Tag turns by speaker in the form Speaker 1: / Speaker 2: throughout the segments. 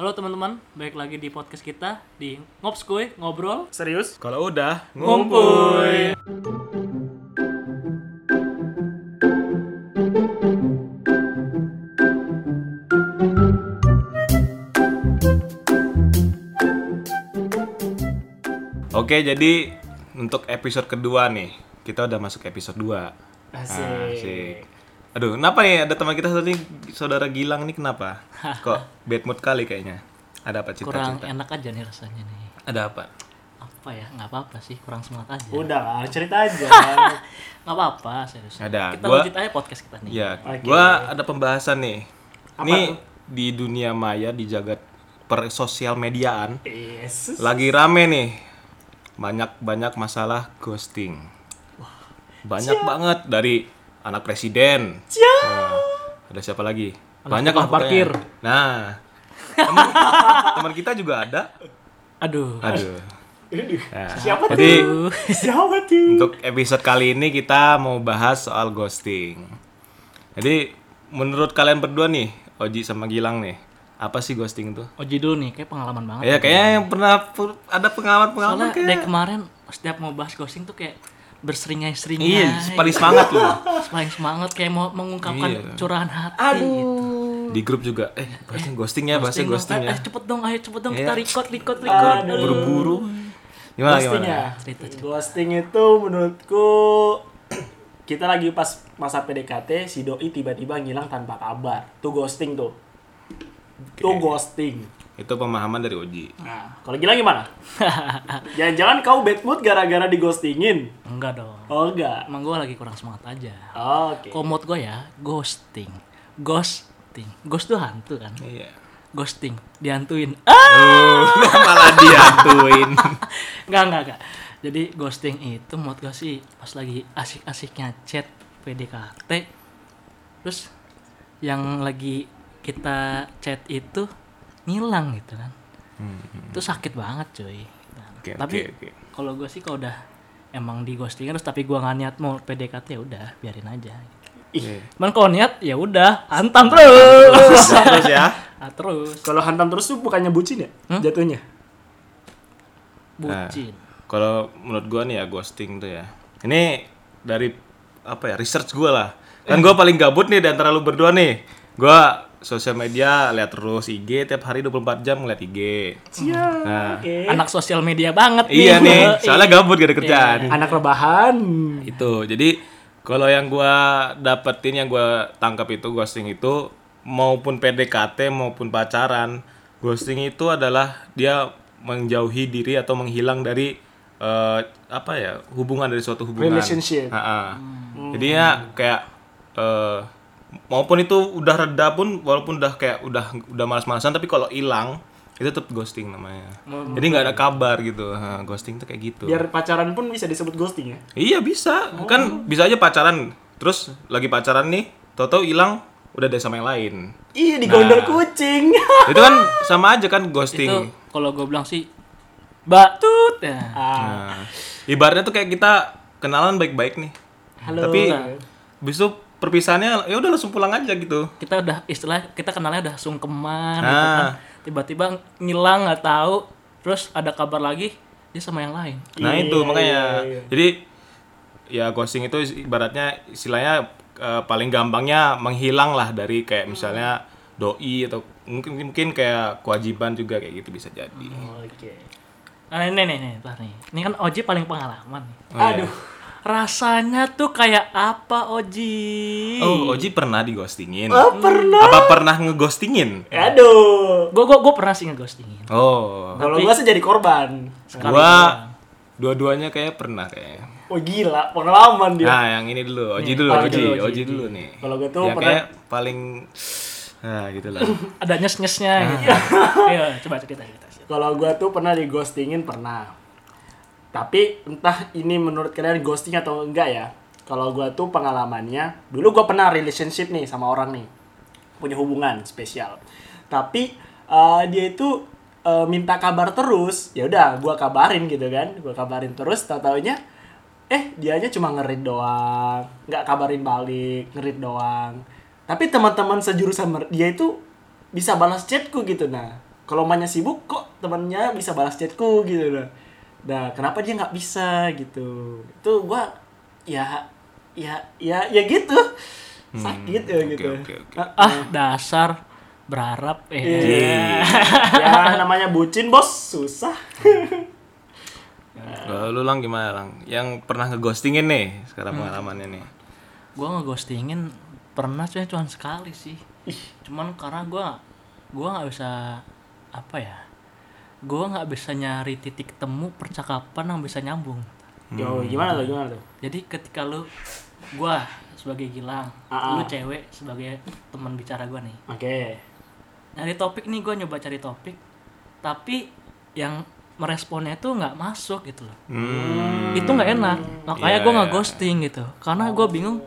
Speaker 1: Halo teman-teman, balik lagi di podcast kita di Ngobskoy, ngobrol.
Speaker 2: Serius?
Speaker 3: Kalau udah
Speaker 1: Ngompoy.
Speaker 3: Oke, jadi untuk episode kedua nih, kita udah masuk episode 2.
Speaker 2: Asik.
Speaker 3: Aduh, kenapa nih ada teman kita satu nih, saudara Gilang nih kenapa? Kok bad mood kali kayaknya? Ada apa
Speaker 1: Kurang
Speaker 3: cerita-cerita?
Speaker 1: enak aja nih rasanya nih.
Speaker 3: Ada apa?
Speaker 1: Apa ya? Nggak apa-apa sih, kurang semangat aja. Nggak
Speaker 2: Udah lah, cerita aja.
Speaker 1: apa-apa, serius.
Speaker 3: Ada,
Speaker 1: Kita
Speaker 3: gua-
Speaker 1: lanjut aja podcast kita nih.
Speaker 3: Ya,
Speaker 2: Oke.
Speaker 3: gua ada pembahasan nih.
Speaker 2: Apa
Speaker 3: nih
Speaker 2: tuh?
Speaker 3: di dunia maya di jagat per sosial mediaan
Speaker 2: Yesus.
Speaker 3: lagi rame nih. Banyak-banyak masalah ghosting. Banyak banget dari anak presiden. Nah, ada siapa lagi? banyak
Speaker 1: tukang
Speaker 3: lah pokoknya.
Speaker 1: parkir.
Speaker 3: Nah, teman, teman kita juga ada.
Speaker 1: Aduh.
Speaker 3: Aduh.
Speaker 2: Aduh,
Speaker 3: Nah,
Speaker 2: Siapa
Speaker 3: jadi
Speaker 1: Aduh.
Speaker 2: Siapa tuh?
Speaker 3: untuk episode kali ini kita mau bahas soal ghosting. Jadi menurut kalian berdua nih, Oji sama Gilang nih, apa sih ghosting itu?
Speaker 1: Oji dulu nih, kayak pengalaman banget.
Speaker 3: Ya kayaknya yang pernah pu- ada
Speaker 1: Soalnya
Speaker 3: pengalaman-pengalaman
Speaker 1: dari
Speaker 3: kayak.
Speaker 1: kemarin setiap mau bahas ghosting tuh kayak berseringai-seringai.
Speaker 3: Iya, paling semangat loh.
Speaker 1: Paling semangat kayak mau mengungkapkan
Speaker 3: Iya.
Speaker 1: curahan hati. gitu.
Speaker 3: di grup juga eh bahasnya ghosting ya
Speaker 1: Ghosting
Speaker 3: bahasnya
Speaker 1: dong.
Speaker 3: ghosting
Speaker 1: Eh,
Speaker 3: ya
Speaker 1: eh, cepet dong, ayo cepet dong
Speaker 3: Iya.
Speaker 1: kita record, record, record.
Speaker 2: Aduh.
Speaker 1: Aduh.
Speaker 3: buru-buru gimana
Speaker 2: Ghosting
Speaker 3: gimana
Speaker 2: ya?
Speaker 1: Cerita, cerita.
Speaker 2: Ghosting itu menurutku kita lagi pas masa PDKT si doi tiba-tiba ngilang tanpa kabar. Tuh ghosting tuh. Tuh ghosting.
Speaker 3: itu pemahaman dari Oji
Speaker 2: Nah, kalau Gilang gimana? Jangan-jangan kau bad mood gara-gara dighostingin.
Speaker 1: Enggak dong.
Speaker 2: Oh enggak.
Speaker 1: Emang gue lagi kurang semangat aja.
Speaker 2: Oke.
Speaker 1: Komod gue ya, ghosting. Ghosting. Ghost tuh hantu kan?
Speaker 3: iya
Speaker 1: Ghosting. Dihantuin. Ah!
Speaker 3: oh, malah diantuin
Speaker 1: Enggak, enggak, enggak. Jadi ghosting itu menurut gue sih pas lagi asik-asiknya chat PDKT. Terus yang lagi kita chat itu ngilang gitu kan. Itu sakit banget cuy. Nah,
Speaker 3: Hmm. Oke,
Speaker 1: tapi
Speaker 3: oke, oke.
Speaker 1: kalau gue sih kalau udah emang di ghosting terus tapi gua nggak niat mau PDKT ya udah biarin aja
Speaker 3: Iya.
Speaker 1: Cuman kalau niat ya udah hantam terus.
Speaker 3: terus ya
Speaker 1: Ah, terus
Speaker 2: Kalau hantam terus tuh bukannya bucin ya? Jatuhnya.
Speaker 1: bucin.
Speaker 3: Nah. kalau menurut gua nih ya ghosting tuh ya ini dari apa ya research gua lah kan gua paling gabut nih di antara lu berdua nih gua sosial media lihat terus IG tiap hari 24 jam ngeliat IG
Speaker 2: Iya.
Speaker 3: nah
Speaker 2: Oke.
Speaker 1: Anak sosial media banget
Speaker 3: iya
Speaker 1: nih.
Speaker 3: nih soalnya gabut gak ada kerjaan
Speaker 2: Anak rebahan.
Speaker 3: itu jadi kalau yang gua dapetin yang gua tangkap itu ghosting itu maupun PDKT maupun pacaran ghosting itu adalah dia menjauhi diri atau menghilang dari eh, apa ya hubungan dari suatu hubungan
Speaker 2: Relationship.
Speaker 3: Ha-ha. jadi ya kayak eh, maupun itu udah reda pun walaupun udah kayak udah udah malas-malasan tapi kalau hilang itu tetap ghosting namanya jadi nggak ada kabar gitu Ha, ghosting tuh kayak gitu
Speaker 2: Biar pacaran pun bisa disebut ghosting ya.
Speaker 3: Iya bisa,
Speaker 2: Oh.
Speaker 3: kan bisa aja pacaran. Terus lagi pacaran nih, toto hilang udah ada sama yang lain.
Speaker 2: Ih, digondor kucing.
Speaker 3: Itu kan sama aja kan
Speaker 1: Itu
Speaker 3: ghosting.
Speaker 1: kalau gue bilang sih batut ya.
Speaker 2: Ah,
Speaker 3: Nah, ibaratnya tuh kayak kita kenalan baik-baik nih.
Speaker 2: Halo.
Speaker 3: Tapi habis itu perpisahannya ya udah langsung pulang aja gitu.
Speaker 1: Kita udah istilah kita kenalnya udah sungkeman gitu kan.
Speaker 3: Nah,
Speaker 1: Tiba-tiba ngilang nggak tahu, terus ada kabar lagi dia sama yang lain.
Speaker 3: nah
Speaker 2: Iya,
Speaker 3: itu makanya.
Speaker 2: iya, iya.
Speaker 3: Jadi ya ghosting itu ibaratnya istilahnya eh, paling gampangnya menghilang lah dari kayak misalnya
Speaker 2: Hmm.
Speaker 3: doi atau mungkin mungkin kayak kewajiban juga kayak gitu bisa jadi.
Speaker 2: Oke.
Speaker 1: Nah, ini nih nih, ntar nih. Ini kan Oji paling pengalaman. nih.
Speaker 3: Oh, iya.
Speaker 2: Aduh.
Speaker 1: Rasanya tuh kayak apa Oji?
Speaker 3: Oh, Oji pernah dighostingin.
Speaker 2: Oh, pernah.
Speaker 3: Apa pernah ngeghostingin?
Speaker 2: Ya. Aduh.
Speaker 1: Gue gue pernah sih ngeghostingin.
Speaker 3: Oh.
Speaker 2: Kalau gua sih jadi korban.
Speaker 3: Gua dua-duanya kayak pernah kayaknya.
Speaker 2: Oh gila, pengalaman dia.
Speaker 3: Nah, yang ini dulu, Oji dulu,
Speaker 2: Oji
Speaker 3: Oji,
Speaker 2: dulu, Iya, gitu, Oji. Iya.
Speaker 3: Oji dulu nih.
Speaker 2: Kalau gua tuh
Speaker 3: ya,
Speaker 2: pernah-
Speaker 3: kayak paling nah, gitu lah.
Speaker 1: ada nyes-nyesnya
Speaker 3: Ah.
Speaker 1: gitu. Ayo, coba cerita cerita.
Speaker 2: Kalau gua tuh pernah dighostingin pernah. Tapi entah ini menurut kalian ghosting atau enggak ya. Kalau gua tuh pengalamannya, dulu gua pernah relationship nih sama orang nih. Punya hubungan spesial. Tapi eh, dia itu eh, minta kabar terus. Ya udah, gua kabarin gitu kan. Gua kabarin terus, tahu-taunya eh dianya cuma ngerit doang, nggak kabarin balik, ngerit doang. Tapi teman-teman sejurusan mer- dia itu bisa balas chatku gitu nah. kalau emaknya sibuk kok temannya bisa balas chatku gitu loh nah kenapa dia nggak bisa gitu itu gua ya ya ya ya gitu sakit ya
Speaker 3: Hmm, oke,
Speaker 2: gitu
Speaker 3: oke, oke.
Speaker 2: Ah, ah.
Speaker 1: ah dasar berharap eh
Speaker 2: Iya. ya namanya bucin bos susah
Speaker 3: Kalau lu lang gimana lang? Yang pernah ngeghostingin nih sekarang
Speaker 2: Hmm.
Speaker 3: pengalamannya nih.
Speaker 1: gue ngeghostingin pernah sih cuma sekali sih cuman karena gue gue nggak bisa apa ya gue nggak bisa nyari titik temu percakapan yang bisa nyambung
Speaker 3: Hmm.
Speaker 2: yo gimana tuh gimana tuh
Speaker 1: jadi ketika lu gue sebagai Gilang
Speaker 2: Ah,
Speaker 1: lu
Speaker 2: ah.
Speaker 1: cewek sebagai teman bicara gue nih
Speaker 2: oke
Speaker 1: nyari topik nih gue nyoba cari topik tapi yang meresponnya tuh nggak masuk gitu loh
Speaker 2: Oh,
Speaker 3: Hmm,
Speaker 1: itu nggak enak makanya
Speaker 3: Iya,
Speaker 1: gue nggak
Speaker 3: iya.
Speaker 1: ghosting gitu karena gue bingung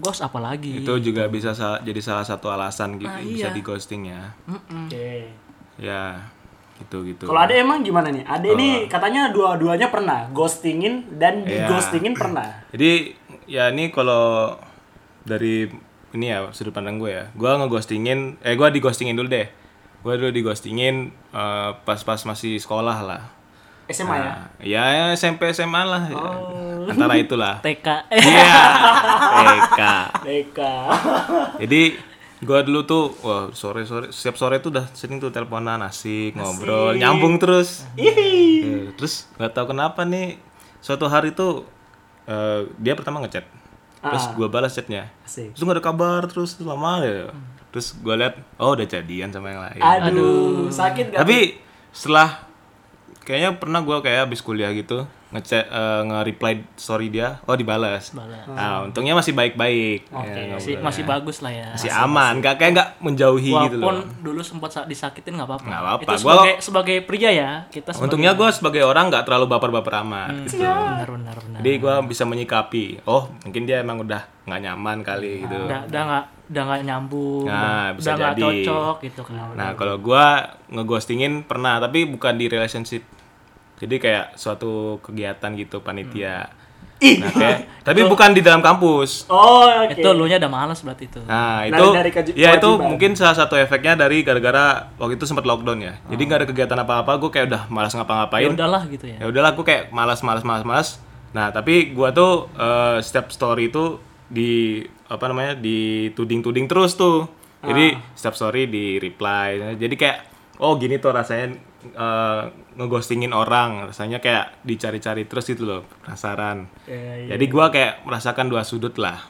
Speaker 1: ghost apa
Speaker 2: iya.
Speaker 1: lagi
Speaker 3: itu juga bisa sa- jadi salah satu alasan gitu
Speaker 1: Ah, iya.
Speaker 3: bisa di ghosting ya.
Speaker 1: Mm-mm.
Speaker 2: oke
Speaker 3: Ya, gitu gitu.
Speaker 2: Hmm. Kalau Ade emang gimana nih? Ade nih katanya dua-duanya pernah ghostingin dan
Speaker 3: Oh.
Speaker 2: di
Speaker 3: Iya.
Speaker 2: ghostingin pernah.
Speaker 3: Jadi ya ini kalau dari ini ya sudut pandang gue ya. Gue ngeghostingin, eh gue dighostingin dulu deh. Gue dulu dighostingin eh, pas-pas masih sekolah lah.
Speaker 2: SMA ya.
Speaker 3: Nah, ya SMP SMA lah. ya. Antara itulah.
Speaker 1: TK
Speaker 3: Iya. TK.
Speaker 2: Nah. Eka.
Speaker 3: Jadi gue dulu tuh, wah sore sore setiap sore tuh udah sering tuh teleponan asik, ngobrol, nyambung terus.
Speaker 2: Ih.
Speaker 3: Eh, terus nggak tahu kenapa nih suatu hari tuh eh, dia pertama ngechat terus
Speaker 2: Ah.
Speaker 3: gue balas chatnya
Speaker 2: Asik.
Speaker 3: terus nggak ada kabar terus terus lama ya terus gue lihat oh udah jadian sama yang lain
Speaker 2: Aduh, sakit gak?
Speaker 3: tapi setelah kayaknya pernah gue kayak habis kuliah gitu ngechat eh, nge-reply story dia oh dibalas
Speaker 1: Balas.
Speaker 3: nah untungnya masih baik-baik Ya, nggak
Speaker 1: masih,
Speaker 3: boleh.
Speaker 1: masih bagus lah ya
Speaker 3: masih aman nggak kayak nggak menjauhi gitu
Speaker 1: walaupun
Speaker 3: loh
Speaker 1: dulu sempat sa- disakitin nggak apa-apa
Speaker 3: Nggak apa-apa.
Speaker 1: itu
Speaker 3: Gua-
Speaker 1: sebagai sebagai pria ya kita sebagai,
Speaker 3: untungnya gue sebagai orang nggak terlalu baper-baper amat gitu.
Speaker 1: benar benar benar
Speaker 3: Jadi gue bisa menyikapi, oh mungkin dia emang udah nggak nyaman kali gitu.
Speaker 1: udah udah nggak udah nggak nyambung
Speaker 3: Nah, bisa
Speaker 1: udah nggak
Speaker 3: jadi.
Speaker 1: cocok gitu kan
Speaker 3: Nah kalau gue ngeghostingin pernah, tapi bukan di relationship. Jadi kayak suatu kegiatan gitu panitia. Nah, kayak- tapi bukan di dalam kampus.
Speaker 2: Oh, oke.
Speaker 1: itu lu nya udah malas berarti itu
Speaker 3: Nah
Speaker 2: Lari
Speaker 3: itu,
Speaker 2: dari keji-
Speaker 3: ya itu
Speaker 2: kewajiban.
Speaker 3: mungkin salah satu efeknya dari gara-gara waktu itu sempat lockdown ya. Jadi nggak ada kegiatan apa-apa, gue kayak udah malas
Speaker 1: ya
Speaker 3: ngapa-ngapain.
Speaker 1: udahlah gitu ya
Speaker 3: ya udahlah aku kayak malas malas malas malas nah tapi gua tuh eh, setiap story itu di apa namanya dituding tuding terus tuh jadi setiap story di reply jadi kayak oh gini tuh rasanya eh, ngeghostingin orang rasanya kayak dicari-cari terus gitu loh penasaran
Speaker 2: Iya, iya.
Speaker 3: jadi gua kayak merasakan dua sudut lah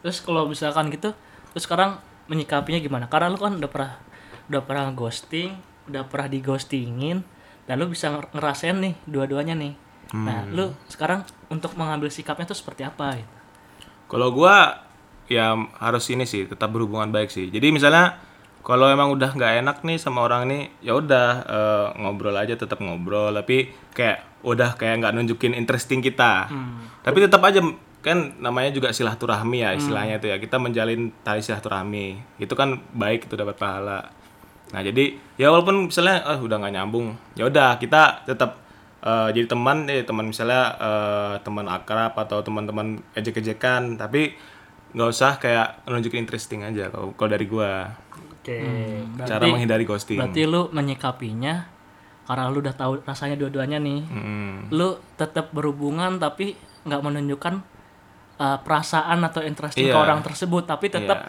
Speaker 1: terus kalau misalkan gitu terus sekarang menyikapinya gimana karena lu kan udah pernah udah pernah ghosting udah pernah dighostingin dan lu bisa nger- ngerasain nih dua-duanya nih nah
Speaker 3: Hmm.
Speaker 1: lu sekarang untuk mengambil sikapnya tuh seperti apa gitu
Speaker 3: Hmm. Kalau gua ya harus ini sih tetap berhubungan baik sih. Jadi misalnya kalau emang udah nggak enak nih sama orang ini, ya udah eh, ngobrol aja tetap ngobrol. Tapi kayak udah kayak nggak nunjukin interesting kita. Tapi tetap aja kan namanya juga silaturahmi ya istilahnya itu ya. Kita menjalin tali silaturahmi. Itu kan baik itu dapat pahala. Nah jadi ya walaupun misalnya eh, udah nggak nyambung, ya udah kita tetap Eh, jadi teman eh teman misalnya eh, teman akrab atau teman-teman ejek-ejekan tapi nggak usah kayak nunjukin interesting aja kalau kalau dari gua
Speaker 2: Oke. Hmm.
Speaker 3: cara menghindari ghosting
Speaker 1: berarti lu menyikapinya karena lu udah tahu rasanya dua-duanya nih
Speaker 3: Mm.
Speaker 1: lu tetap berhubungan tapi nggak menunjukkan uh, perasaan atau interest ke
Speaker 3: Iya.
Speaker 1: orang tersebut tapi tetap
Speaker 3: Iya.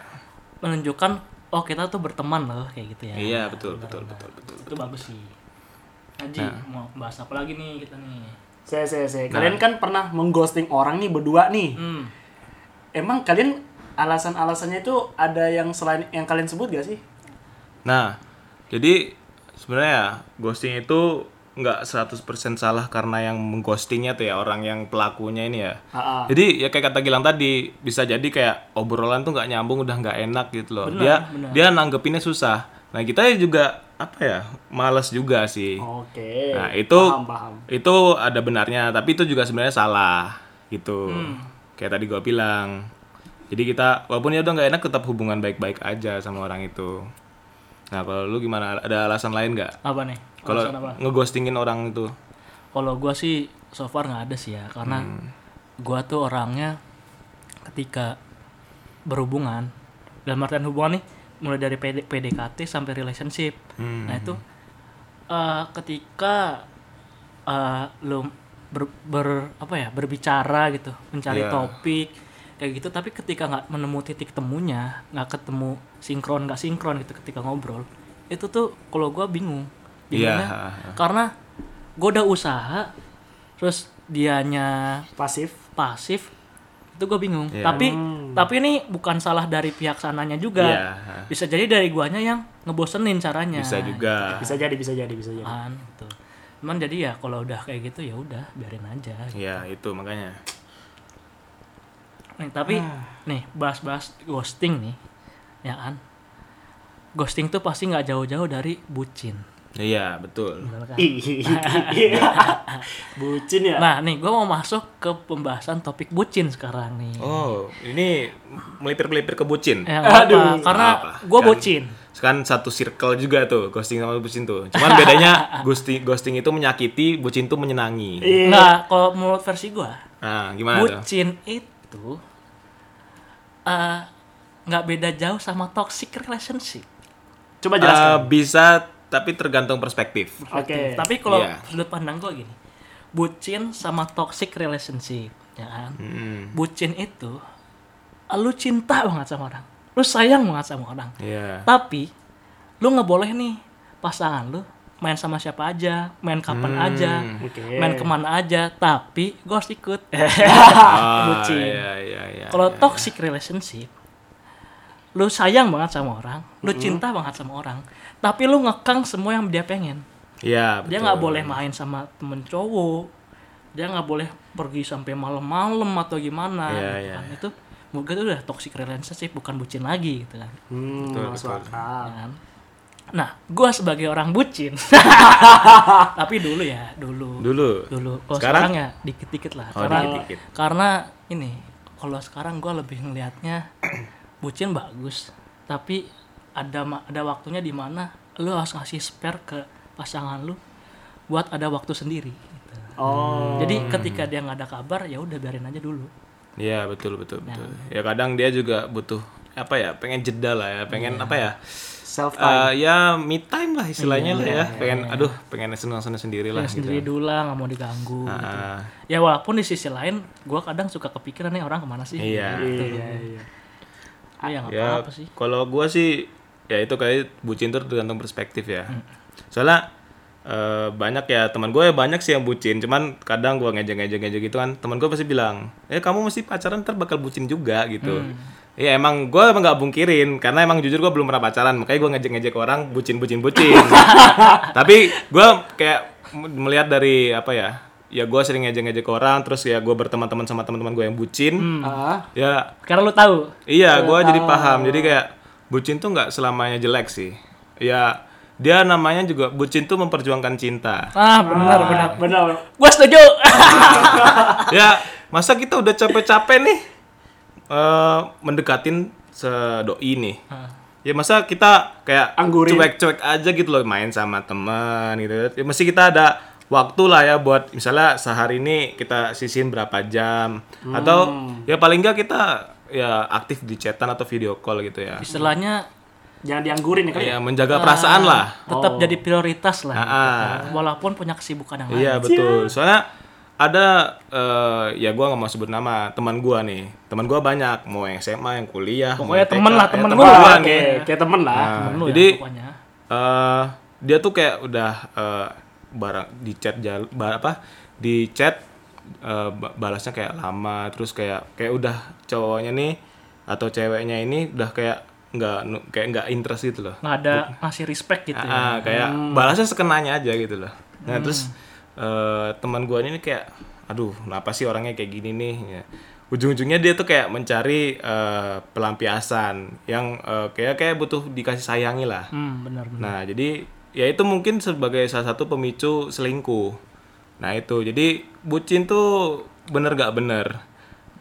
Speaker 1: menunjukkan oh kita tuh berteman loh kayak gitu ya
Speaker 3: iya betul betul betul betul
Speaker 1: itu bagus sih Haji mau bahas apa lagi nih kita nih
Speaker 2: Saya saya
Speaker 3: Nah.
Speaker 2: saya. Kalian kan pernah mengghosting orang nih berdua nih.
Speaker 1: hmm.
Speaker 2: Emang kalian alasan-alasannya itu ada yang selain yang kalian sebut gak sih?
Speaker 3: nah jadi sebenarnya ya, ghosting itu nggak 100% salah karena yang mengghostingnya tuh ya orang yang pelakunya ini ya
Speaker 2: Ah, ah.
Speaker 3: Jadi ya kayak kata Gilang tadi bisa jadi kayak obrolan tuh nggak nyambung udah nggak enak gitu loh. dia dia nanggepinnya susah. Nah kita juga apa ya males juga sih.
Speaker 2: Oh, Oke.
Speaker 3: Nah, itu-
Speaker 2: paham paham.
Speaker 3: Itu ada benarnya tapi itu juga sebenarnya salah gitu.
Speaker 2: Hmm.
Speaker 3: Kayak tadi gua bilang. Jadi kita walaupun ya udah nggak enak tetap hubungan baik-baik aja sama orang itu. Nah kalau lu gimana? Ada alasan lain nggak?
Speaker 1: apa nih
Speaker 3: Kalau
Speaker 1: Alasan apa?
Speaker 3: ngeghostingin orang itu?
Speaker 1: kalau gua sih so far nggak ada sih ya karena
Speaker 3: Hmm.
Speaker 1: gua tuh orangnya ketika berhubungan dalam artian hubungan nih mulai dari PD PDKT sampai relationship
Speaker 3: Hmm.
Speaker 1: nah itu eh, ketika eh, lo ber, ber- apa ya berbicara gitu mencari
Speaker 3: Iya.
Speaker 1: topik kayak gitu tapi ketika nggak menemu titik temunya nggak ketemu sinkron nggak sinkron gitu ketika ngobrol itu tuh kalau gua bingung bingungnya
Speaker 3: Iya.
Speaker 1: karena gue udah usaha terus dianya
Speaker 2: pasif
Speaker 1: pasif itu gue bingung
Speaker 3: Iya.
Speaker 1: tapi
Speaker 2: Hmm.
Speaker 1: tapi ini bukan salah dari pihak sananya juga
Speaker 3: Iya.
Speaker 1: bisa jadi dari guanya yang ngebosenin caranya
Speaker 3: Bisa juga.
Speaker 2: Ya. bisa jadi bisa jadi bisa jadi
Speaker 1: kan gitu cuman jadi ya kalau udah kayak gitu ya udah biarin aja
Speaker 3: Ya itu makanya.
Speaker 1: nih tapi nih bahas-bahas ghosting nih ya kan ghosting tuh pasti nggak jauh-jauh dari bucin
Speaker 3: Iya betul.
Speaker 1: bener kan?
Speaker 2: Ih, bucin ya
Speaker 1: nah nih gue mau masuk ke pembahasan topik bucin sekarang nih
Speaker 3: Oh ini melipir-melipir ke bucin.
Speaker 1: Ya, nggak apa,
Speaker 2: Aduh.
Speaker 1: karena
Speaker 3: Nggak apa.
Speaker 1: gue
Speaker 3: Kan-
Speaker 1: bucin
Speaker 3: Kan satu circle juga tuh ghosting sama bucin tuh. Cuman bedanya ghosting ghosting itu menyakiti, bucin tuh menyenangi.
Speaker 2: Iya.
Speaker 1: nggak kalau menurut versi gue
Speaker 3: Nah gimana tuh?
Speaker 1: Bucin itu eh, nggak beda jauh sama toxic relationship.
Speaker 3: Eh,
Speaker 2: coba
Speaker 1: kan?
Speaker 2: jelaskan
Speaker 3: bisa tapi tergantung perspektif.
Speaker 1: Eh,
Speaker 2: oke
Speaker 1: Tapi kalau
Speaker 3: Iya.
Speaker 1: sudut pandang gue gini, bucin sama toxic relationship, ya kan?
Speaker 3: Hmm.
Speaker 1: Bucin itu eh, lu cinta banget sama orang, lu sayang banget sama orang,
Speaker 3: Iya.
Speaker 1: tapi lu nggak boleh nih pasangan lu main sama siapa aja, main kapan
Speaker 3: Hmm,
Speaker 1: aja,
Speaker 2: Oke.
Speaker 1: main kemana aja, tapi gue harus ikut.
Speaker 3: Ah,
Speaker 1: bucin.
Speaker 3: Iya iya iya.
Speaker 1: Kalau toxic relationship, lu sayang banget sama orang, lu
Speaker 3: Hmm.
Speaker 1: cinta banget sama orang, tapi lu ngekang semua yang dia pengen.
Speaker 3: Iya,
Speaker 1: Dia
Speaker 3: betul.
Speaker 1: nggak boleh main sama temen cowok, dia nggak boleh pergi sampai malam-malam atau gimana.
Speaker 3: Iya,
Speaker 1: gitu
Speaker 3: iya,
Speaker 1: kan. Itu mungkin itu udah toxic relationship, bukan bucin lagi gitu kan.
Speaker 2: hmm,
Speaker 3: Betul,
Speaker 2: masuk
Speaker 3: betul.
Speaker 2: akal.
Speaker 1: Kan? Nah, gua sebagai orang bucin, tapi dulu ya, dulu,
Speaker 3: Dulu.
Speaker 1: dulu. Kalau
Speaker 3: Sekarang?
Speaker 1: sekarang? ya dikit-dikit lah.
Speaker 3: Oh,
Speaker 1: Karena-
Speaker 3: dikit-dikit.
Speaker 1: karena ini kalau sekarang gue lebih ngelihatnya bucin bagus tapi ada ma- ada waktunya di mana lu harus ngasih spare ke pasangan lu buat ada waktu sendiri gitu.
Speaker 2: oh
Speaker 1: jadi
Speaker 3: Hmm.
Speaker 1: ketika dia nggak ada kabar ya udah biarin aja dulu
Speaker 3: Iya, betul betul betul. Ya kadang dia juga butuh apa ya? Pengen jeda lah ya,
Speaker 1: Iya.
Speaker 3: pengen apa ya?
Speaker 2: self time
Speaker 3: Eh, ya me time lah
Speaker 1: Iya,
Speaker 3: istilahnya lah ya. pengen aduh, pengen senang-senang sendiri lah gitu.
Speaker 1: sendiri dulu lah nggak mau diganggu gitu.
Speaker 3: Ah,
Speaker 1: ya walaupun di sisi lain gue kadang suka kepikiran nih orang kemana sih
Speaker 3: iya.
Speaker 2: iya iya
Speaker 1: Ah, ya nggak
Speaker 3: Ya,
Speaker 1: apa-apa sih
Speaker 3: kalau gua sih ya itu kayak bucin tuh tergantung perspektif ya. Soalnya eh, banyak ya teman gue banyak sih yang bucin, cuman kadang gua ngejek-ngejek ngejek gitu kan. Teman gue pasti bilang, "Eh, kamu mesti pacaran ntar bakal bucin juga." gitu.
Speaker 1: Mm.
Speaker 3: Iya emang gue emang nggak bungkirin karena emang jujur gue belum pernah pacaran makanya gue ngejek-ngejek orang bucin bucin bucin. Tapi gua kayak m- melihat dari apa ya? Ya gua sering ngejek-ngejek orang terus ya gue berteman-teman sama teman-teman gue yang
Speaker 1: Mm.
Speaker 3: bucin.
Speaker 1: Hmm.
Speaker 2: Ah,
Speaker 3: Ya
Speaker 1: karena lu tahu
Speaker 3: Iya, gua jadi paham. Jadi kayak bucin tuh nggak selamanya jelek sih. Ya dia namanya juga bucin tuh memperjuangkan cinta.
Speaker 1: ah benar benar
Speaker 2: benar
Speaker 1: gue setuju
Speaker 3: ya masa kita udah capek-capek nih eh, mendekatin sedoi nih. Ya masa kita kayak
Speaker 2: Anggurin.
Speaker 3: cuek-cuek aja gitu loh main sama teman gitu. Ya mesti kita ada waktu lah ya buat misalnya sehari ini kita sisin berapa jam atau ya paling nggak kita ya aktif di chatan atau video call gitu ya.
Speaker 1: istilahnya
Speaker 2: jangan dianggurin ya kali
Speaker 3: Iya, menjaga perasaan
Speaker 1: Ah.
Speaker 3: lah.
Speaker 1: tetap jadi prioritas lah
Speaker 3: Oh. Ah,
Speaker 1: walaupun punya kesibukan yang lain.
Speaker 3: iya betul. Soalnya ada eh, ya gua nggak mau sebut nama teman gua nih. Teman gua banyak, mau yang SMA, yang kuliah,
Speaker 1: Pokoknya
Speaker 3: mau yang
Speaker 1: temen
Speaker 3: TK,
Speaker 1: lah,
Speaker 3: ya,
Speaker 1: temen
Speaker 2: Wah,
Speaker 1: gua.
Speaker 3: gua
Speaker 2: oke,
Speaker 3: nih.
Speaker 2: kayak temen lah.
Speaker 3: Nah,
Speaker 1: Temen lu ya,
Speaker 3: jadi
Speaker 1: pokoknya.
Speaker 3: eh, dia tuh kayak udah eh, barang di chat jal bar- apa di chat eh, ba- balasnya kayak lama terus kayak kayak udah cowoknya nih atau ceweknya ini udah kayak nggak nu- kayak nggak interest gitu loh.
Speaker 1: nggak ada ngasih respect gitu ya. Hmm.
Speaker 3: Ah, kayak balasnya sekenanya aja gitu loh. Nah, terus eh, teman gua ini kayak aduh, kenapa sih orangnya kayak gini nih? Ya. Ujung-ujungnya dia tuh kayak mencari eh, pelampiasan yang eh, kayak kayak butuh dikasih sayangi lah.
Speaker 1: Hmm, benar benar.
Speaker 3: Nah, jadi ya itu mungkin sebagai salah satu pemicu selingkuh. Nah, itu. Jadi bucin tuh bener gak bener.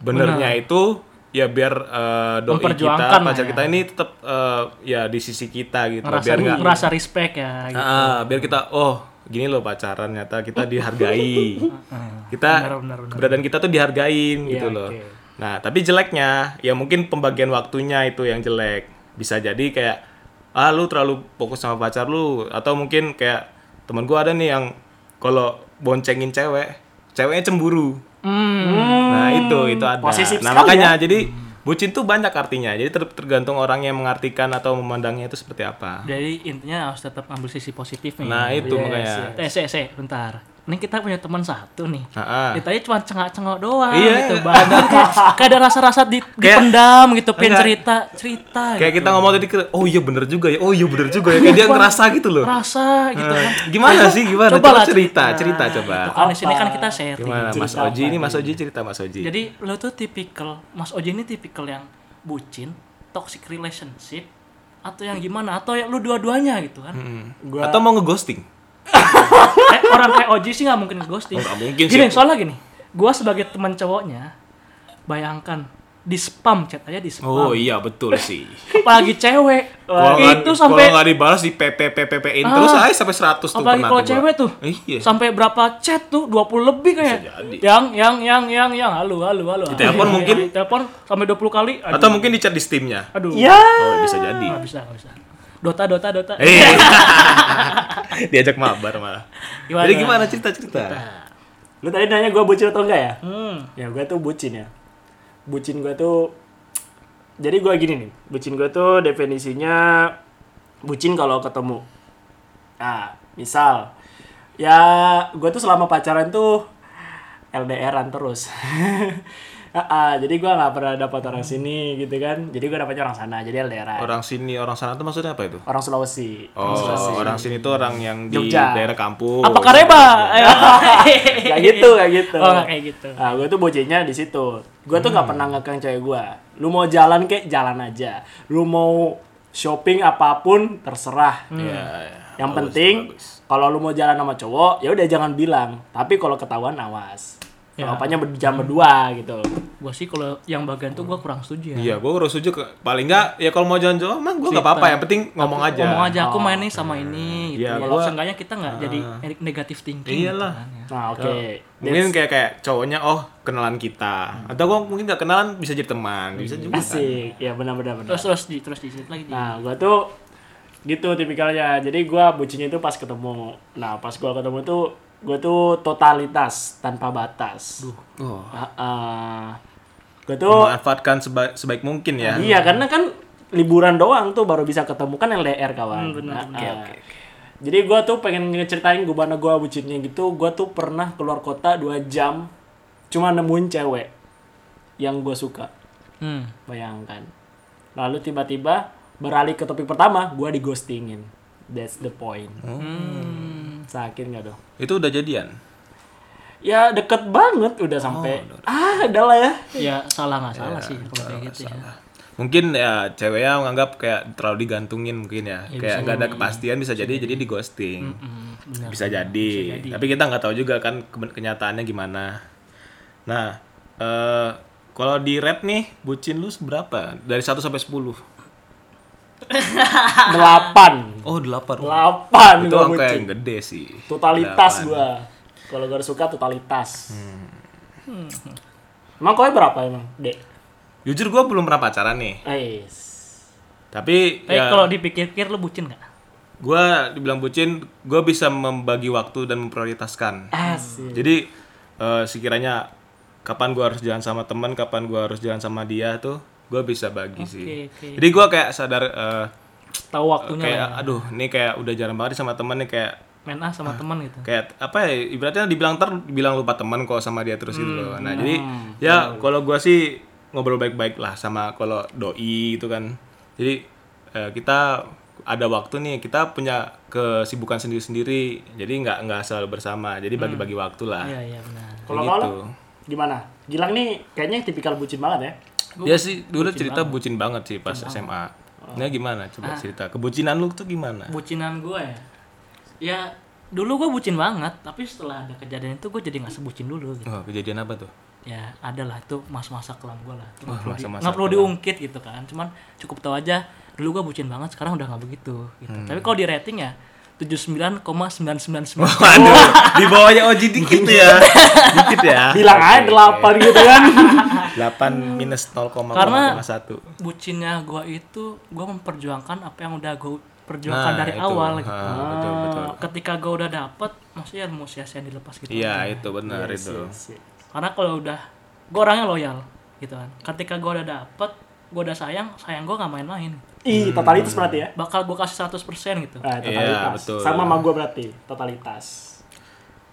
Speaker 3: Benernya itu ya biar eh, doi
Speaker 1: Memperjuangkan
Speaker 3: kita,
Speaker 1: lah
Speaker 3: pacar
Speaker 1: ya.
Speaker 3: kita ini tetap eh, ya di sisi kita gitu.
Speaker 1: Ngerasa
Speaker 3: biar nggak
Speaker 1: ngerasa respect ya gitu.
Speaker 3: Ah, biar kita oh gini loh pacaran nyata kita dihargai kita
Speaker 1: Benar, benar, Iya, benar.
Speaker 3: keberadaan kita tuh dihargain gitu loh
Speaker 2: oke.
Speaker 3: nah tapi jeleknya ya mungkin pembagian waktunya itu yang jelek bisa jadi kayak ah lu terlalu fokus sama pacar lu atau mungkin kayak temen gua ada nih yang kalau boncengin cewek ceweknya cemburu
Speaker 1: Hmm.
Speaker 3: nah itu itu ada
Speaker 2: Posesif
Speaker 3: nah
Speaker 1: ya.
Speaker 2: sekali
Speaker 3: makanya jadi bucin tuh banyak artinya jadi ter- tergantung orang yang mengartikan atau memandangnya itu seperti apa
Speaker 1: Jadi intinya harus tetap ambil sisi positifnya.
Speaker 3: nah itu
Speaker 2: Yes,
Speaker 3: makanya
Speaker 1: Eh, se, se, bentar. Ini kita punya teman satu nih.
Speaker 3: Nah, ah.
Speaker 1: Ditanya cuma cengok-cengok doang
Speaker 3: Iya.
Speaker 1: gitu Bang. kayak, kayak ada rasa-rasa di, dipendam gitu, pengen
Speaker 3: Enggak.
Speaker 1: cerita, cerita
Speaker 3: kayak
Speaker 1: gitu.
Speaker 3: kita ngomong tadi ke- oh iya bener juga ya oh iya bener juga ya kayak dia ngerasa gitu loh
Speaker 1: Rasa gitu
Speaker 3: Eh,
Speaker 1: kan.
Speaker 3: gimana sih gimana
Speaker 1: Coba
Speaker 3: coba,
Speaker 1: lah,
Speaker 3: cerita cerita coba
Speaker 1: Itu kan di sini kan kita sharing.
Speaker 3: Ah. gimana Mas
Speaker 2: Cerita
Speaker 3: Oji
Speaker 2: apa
Speaker 3: ini Mas Oji cerita Mas Oji
Speaker 1: Jadi lo tuh tipikal Mas Oji ini tipikal yang bucin, toxic relationship atau yang gimana atau ya lu dua-duanya gitu kan.
Speaker 3: Hmm.
Speaker 2: Gua-
Speaker 3: atau mau ngeghosting
Speaker 1: eh, orang kayak Oji sih nggak mungkin ghosting.
Speaker 3: Oh, nggak mungkin sih.
Speaker 1: gini, soalnya gini, gua sebagai teman cowoknya, bayangkan di spam chat aja di spam.
Speaker 3: oh iya betul sih
Speaker 1: Apalagi cewek,
Speaker 3: kalau nggak-
Speaker 1: itu
Speaker 3: kalau
Speaker 1: sampai
Speaker 3: nggak dibalas di PP PP in
Speaker 1: Ah.
Speaker 3: terus aja sampai 100
Speaker 1: apalagi
Speaker 3: tuh pernah
Speaker 1: kalau
Speaker 3: tuh gua.
Speaker 1: cewek tuh
Speaker 3: iya
Speaker 1: sampai berapa chat tuh 20 lebih kayak
Speaker 3: jadi.
Speaker 1: yang yang yang yang yang halo halo halo halo.
Speaker 3: telepon
Speaker 1: Iya,
Speaker 3: mungkin?
Speaker 1: iya, telepon sampai 20 kali aduh,
Speaker 3: atau mungkin di chat di Steamnya
Speaker 1: aduh
Speaker 2: Ya.
Speaker 3: oh bisa jadi
Speaker 1: nggak bisa nggak bisa dota dota dota
Speaker 3: eh diajak mabar malah
Speaker 1: Gimana?
Speaker 3: jadi gimana cerita cerita
Speaker 2: Lu tadi nanya gue bucin atau enggak ya?
Speaker 1: hmm.
Speaker 2: Ya gue tuh bucin ya. Bucin gue tuh jadi gue gini nih. Bucin gue tuh definisinya bucin kalau ketemu. Nah, misal ya gue tuh selama pacaran tuh LDRan terus. Ah, ah, jadi gue nggak pernah dapat orang sini gitu kan. Jadi gue dapatnya orang sana. Jadi LDRan. Orang,
Speaker 3: orang sini orang sana tuh maksudnya apa itu
Speaker 2: Sulawesi.
Speaker 3: Oh, orang sini tuh orang yang di
Speaker 2: Jogja.
Speaker 3: daerah kampung.
Speaker 1: apakah reba
Speaker 2: Kayak gitu, kayak gitu.
Speaker 1: oh nggak kayak gitu Hmm.
Speaker 2: Nah, gue tuh bocennya di situ. Gue tuh nggak pernah ngekang cewek gue. Lu mau jalan kek, jalan aja. Lu mau shopping apapun, terserah.
Speaker 1: Hmm.
Speaker 3: Iya, iya.
Speaker 2: Hmm. Yang
Speaker 3: Bagus,
Speaker 2: penting,
Speaker 3: bagus.
Speaker 2: kalau lu mau jalan sama cowok, ya udah jangan bilang. Tapi kalau ketahuan, awas.
Speaker 1: Ya.
Speaker 2: Kalau apanya berjam berdua gitu.
Speaker 1: gue sih kalau yang bagian tuh gue kurang setuju ya
Speaker 3: Iya, gue harus setuju ke paling enggak ya kalau mau jalan-jalan mah gue nggak apa-apa, yang penting ngomong aja.
Speaker 1: ngomong aja aku main nih sama ini gitu
Speaker 3: Iya,
Speaker 1: kalau
Speaker 3: gua-
Speaker 1: seenggaknya kita nggak jadi negatif thinking
Speaker 3: Iyalah.
Speaker 1: gitu kan, ya.
Speaker 2: Nah, oke.
Speaker 3: Mungkin kayak kayak cowoknya oh kenalan kita. Atau gue mungkin nggak kenalan bisa jadi teman, bisa juga.
Speaker 2: That's Asik. Ya benar-benar benar.
Speaker 1: terus terus di terus di situ lagi di
Speaker 2: Nah, gua tuh gitu tipikalnya. Jadi gua bucinnya itu pas ketemu. Nah, pas gua ketemu tuh gua tuh totalitas tanpa batas.
Speaker 3: Oh,
Speaker 2: Ah, ah. Gua tuh
Speaker 3: memanfaatkan seba- sebaik mungkin ya.
Speaker 2: Oh. iya karena kan liburan doang tuh baru bisa ketemu kan LDR kawan. Ah, ah. Jadi gua tuh pengen ngeceritain gimana gua bucinnya gitu. Gua tuh pernah keluar kota 2 jam cuma nemuin cewek yang gua suka.
Speaker 1: hmm.
Speaker 2: Bayangkan. Lalu tiba-tiba beralih ke topik pertama, gua di ghostingin. That's the point.
Speaker 3: Hmm.
Speaker 2: Sakit nggak dong?
Speaker 3: Itu udah jadian.
Speaker 2: Ya deket banget udah sampai.
Speaker 3: Oh,
Speaker 2: ah, adalah ya.
Speaker 1: ya salah nggak salah sih kalau kayak gitu ya
Speaker 3: Mungkin ya ceweknya menganggap kayak terlalu digantungin mungkin ya. kayak nggak ada kepastian bisa jadi jadi di ghosting.
Speaker 1: Hmm, benar.
Speaker 3: bisa jadi. Tapi kita nggak tahu juga kan ke- kenyataannya gimana. Nah, eh kalau di red nih, bucin lu seberapa? Dari 1 sampai 10.
Speaker 2: 8.
Speaker 3: Oh, 8. Itu
Speaker 2: 8 gua
Speaker 3: angka
Speaker 2: bucin.
Speaker 3: yang gede sih.
Speaker 2: Totalitas gua. Kalau gua suka totalitas.
Speaker 3: Hmm.
Speaker 2: Hmm. Emang kowe berapa emang, Dek?
Speaker 3: Jujur gua belum pernah pacaran nih.
Speaker 2: Ais.
Speaker 3: Tapi
Speaker 1: tapi
Speaker 3: ya
Speaker 1: Eh, kalau dipikir-pikir lu bucin nggak
Speaker 3: gua dibilang bucin, gua bisa membagi waktu dan memprioritaskan.
Speaker 1: Iya.
Speaker 2: Asik.
Speaker 3: Jadi eh, sekiranya kapan gua harus jalan sama teman, kapan gua harus jalan sama dia tuh, gua bisa bagi sih.
Speaker 1: oke.
Speaker 3: Jadi gua kayak sadar eh,
Speaker 1: Hmm. tahu waktunya
Speaker 3: kayak
Speaker 1: lah ya.
Speaker 3: aduh ini kayak udah jarang banget nih sama temen nih kayak
Speaker 1: main ah sama teman gitu
Speaker 3: kayak apa ya ibaratnya dibilang ter dibilang lupa teman kalau sama dia terus gitu loh nah jadi ya kalau gua sih ngobrol baik-baik lah sama kalau doi itu kan jadi eh, kita ada waktu nih kita punya kesibukan sendiri-sendiri jadi nggak nggak selalu bersama jadi bagi-bagi waktu lah
Speaker 1: iya iya benar
Speaker 2: Kalau
Speaker 3: Kayak gitu.
Speaker 2: kalau gimana? Gilang nih kayaknya tipikal bucin banget ya.
Speaker 3: dia Iya sih dulu cerita bucin banget sih pas SMA nah gimana coba cerita kebucinan lu tuh gimana
Speaker 1: bucinan gue ya ya dulu gue bucin banget tapi setelah ada kejadian itu gue jadi nggak sebucin dulu gitu
Speaker 3: oh, kejadian apa tuh
Speaker 1: ya adalah itu masa-masa kelam gue lah Itu nggak
Speaker 3: Wah,
Speaker 1: perlu, di-
Speaker 3: masa-masa
Speaker 1: nggak perlu diungkit gitu
Speaker 3: Hmm.
Speaker 1: kan cuman cukup tahu aja dulu gue bucin banget sekarang udah nggak begitu gitu tapi kalau di rating ya 79,999
Speaker 3: Waduh, di bawahnya Oji dikit ya. Dikit ya.
Speaker 2: Bilang
Speaker 3: Oke,
Speaker 2: aja delapan gitu kan.
Speaker 3: 8 minus 0,1.
Speaker 1: Karena- bucinnya gua itu gua memperjuangkan apa yang udah gua perjuangkan dari awal gitu.
Speaker 3: Nah,
Speaker 1: Ah.
Speaker 3: betul, betul.
Speaker 1: ketika gua udah dapet maksudnya mau sia-sia dilepas gitu
Speaker 3: Iya, itu benar itu.
Speaker 1: karena kalau udah gua orangnya loyal gitu kan ketika gua udah dapet gua udah sayang sayang gua nggak main-main
Speaker 2: Ih, totalitas berarti ya?
Speaker 1: bakal gua kasih 100% gitu
Speaker 2: Nah,
Speaker 3: Iya,
Speaker 2: totalitas.
Speaker 3: betul.
Speaker 2: Sama sama gue berarti, totalitas.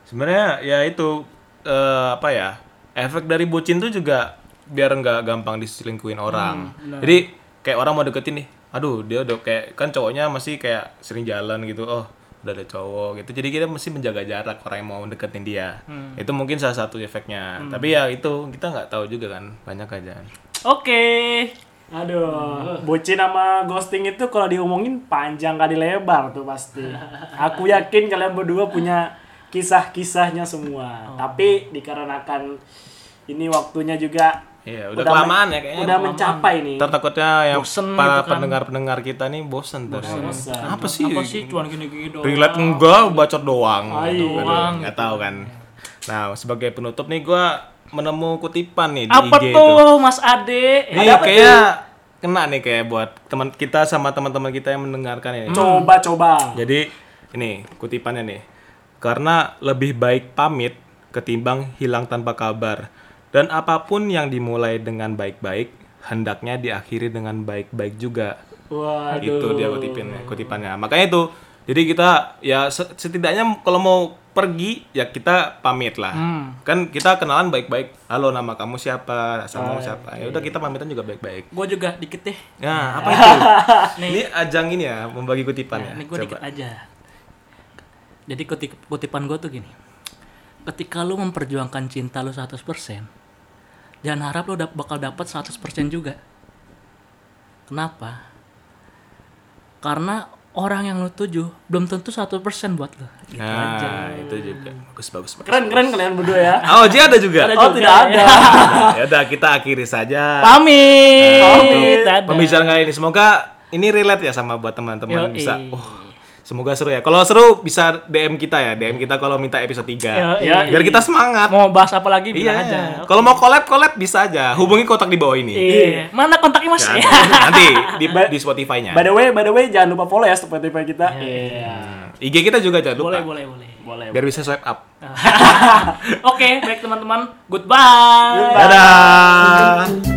Speaker 3: Sebenarnya ya itu eh, apa ya? Efek dari bucin tuh juga biar nggak gampang diselingkuhin orang. Jadi kayak orang mau deketin nih. Aduh, dia udah kayak kan cowoknya masih kayak sering jalan gitu. Oh, udah ada cowok gitu. Jadi kita mesti menjaga jarak orang yang mau deketin dia. Itu mungkin salah satu efeknya. Tapi ya itu kita nggak tahu juga kan banyak aja.
Speaker 1: oke
Speaker 2: Aduh, bucin sama ghosting itu kalau diomongin panjang kali lebar tuh pasti. Aku yakin kalian berdua punya kisah-kisahnya semua. Tapi dikarenakan ini waktunya juga
Speaker 3: Iya, udah, kelamaan ya kayaknya.
Speaker 2: udah mencapai nih.
Speaker 3: Ntar takutnya yang
Speaker 1: Bosen
Speaker 3: para
Speaker 1: gitu kan.
Speaker 3: pendengar-pendengar kita nih bosen terus.
Speaker 2: bosen.
Speaker 3: Apa sih?
Speaker 1: apa sih cuman gini-gini doang
Speaker 3: Ring light enggak, bacot doang.
Speaker 2: Ayo.
Speaker 1: Doang. gitu.
Speaker 3: Enggak tahu kan. Nah, sebagai penutup nih gua menemu kutipan nih di
Speaker 1: apa
Speaker 3: IG
Speaker 1: tuh
Speaker 3: itu.
Speaker 1: mas Ade
Speaker 3: Nih kayak kena nih kayak buat teman kita sama teman-teman kita yang mendengarkan
Speaker 1: Hmm.
Speaker 3: ini.
Speaker 2: Coba-coba.
Speaker 3: Jadi ini kutipannya nih. Karena lebih baik pamit ketimbang hilang tanpa kabar. Dan apapun yang dimulai dengan baik-baik hendaknya diakhiri dengan baik-baik juga.
Speaker 2: Waduh.
Speaker 3: Itu dia kutipannya, kutipannya. Makanya itu. Jadi kita ya se- setidaknya kalau mau pergi ya kita pamit lah. Kan kita kenalan baik-baik. Halo nama kamu siapa? Asal kamu siapa? Ya udah kita pamitan juga baik-baik.
Speaker 1: gue Eh, juga dikit deh
Speaker 3: Nah, apa itu? ini ajang ini ya membagi kutipan ya.
Speaker 1: Nah, Ini gue
Speaker 3: Coba.
Speaker 1: dikit aja. Jadi kutip, kutipan gue tuh gini. Ketika lu memperjuangkan cinta lu 100%, jangan harap lu dap- bakal dapat 100% juga. Kenapa? Karena orang yang lu tuju belum tentu 1% buat lu. Gitu
Speaker 3: nah,
Speaker 1: aja.
Speaker 3: itu juga. Bagus, bagus, bagus.
Speaker 2: Keren-keren kalian berdua ya.
Speaker 3: Oh, Ji ada juga?
Speaker 2: Oh, tidak ada.
Speaker 3: ya udah, kita akhiri saja.
Speaker 1: Pamit.
Speaker 3: Ah,
Speaker 2: Pamit.
Speaker 1: Dadah.
Speaker 3: Pembicaraan kali ini semoga ini relate ya sama buat teman-teman
Speaker 1: Yoi.
Speaker 3: bisa. Oh, semoga seru ya. Kalau seru bisa DM kita ya, DM kita kalau minta episode 3.
Speaker 1: Yoi.
Speaker 3: Biar kita semangat.
Speaker 1: Mau bahas apa lagi bilang
Speaker 3: Iya.
Speaker 1: aja.
Speaker 3: Kalau mau collab-collab bisa aja. Hubungi kotak di bawah ini.
Speaker 1: Iya. Mana kontaknya Mas?
Speaker 3: Jangan. Nanti di, di Spotify-nya.
Speaker 2: By the way, by the way jangan lupa follow ya Spotify kita. Iya.
Speaker 3: IG kita juga jangan lupa.
Speaker 1: boleh, boleh, boleh.
Speaker 2: Boleh.
Speaker 3: Biar bisa swipe up.
Speaker 1: Oke, baik teman-teman. Goodbye.
Speaker 3: Dadah.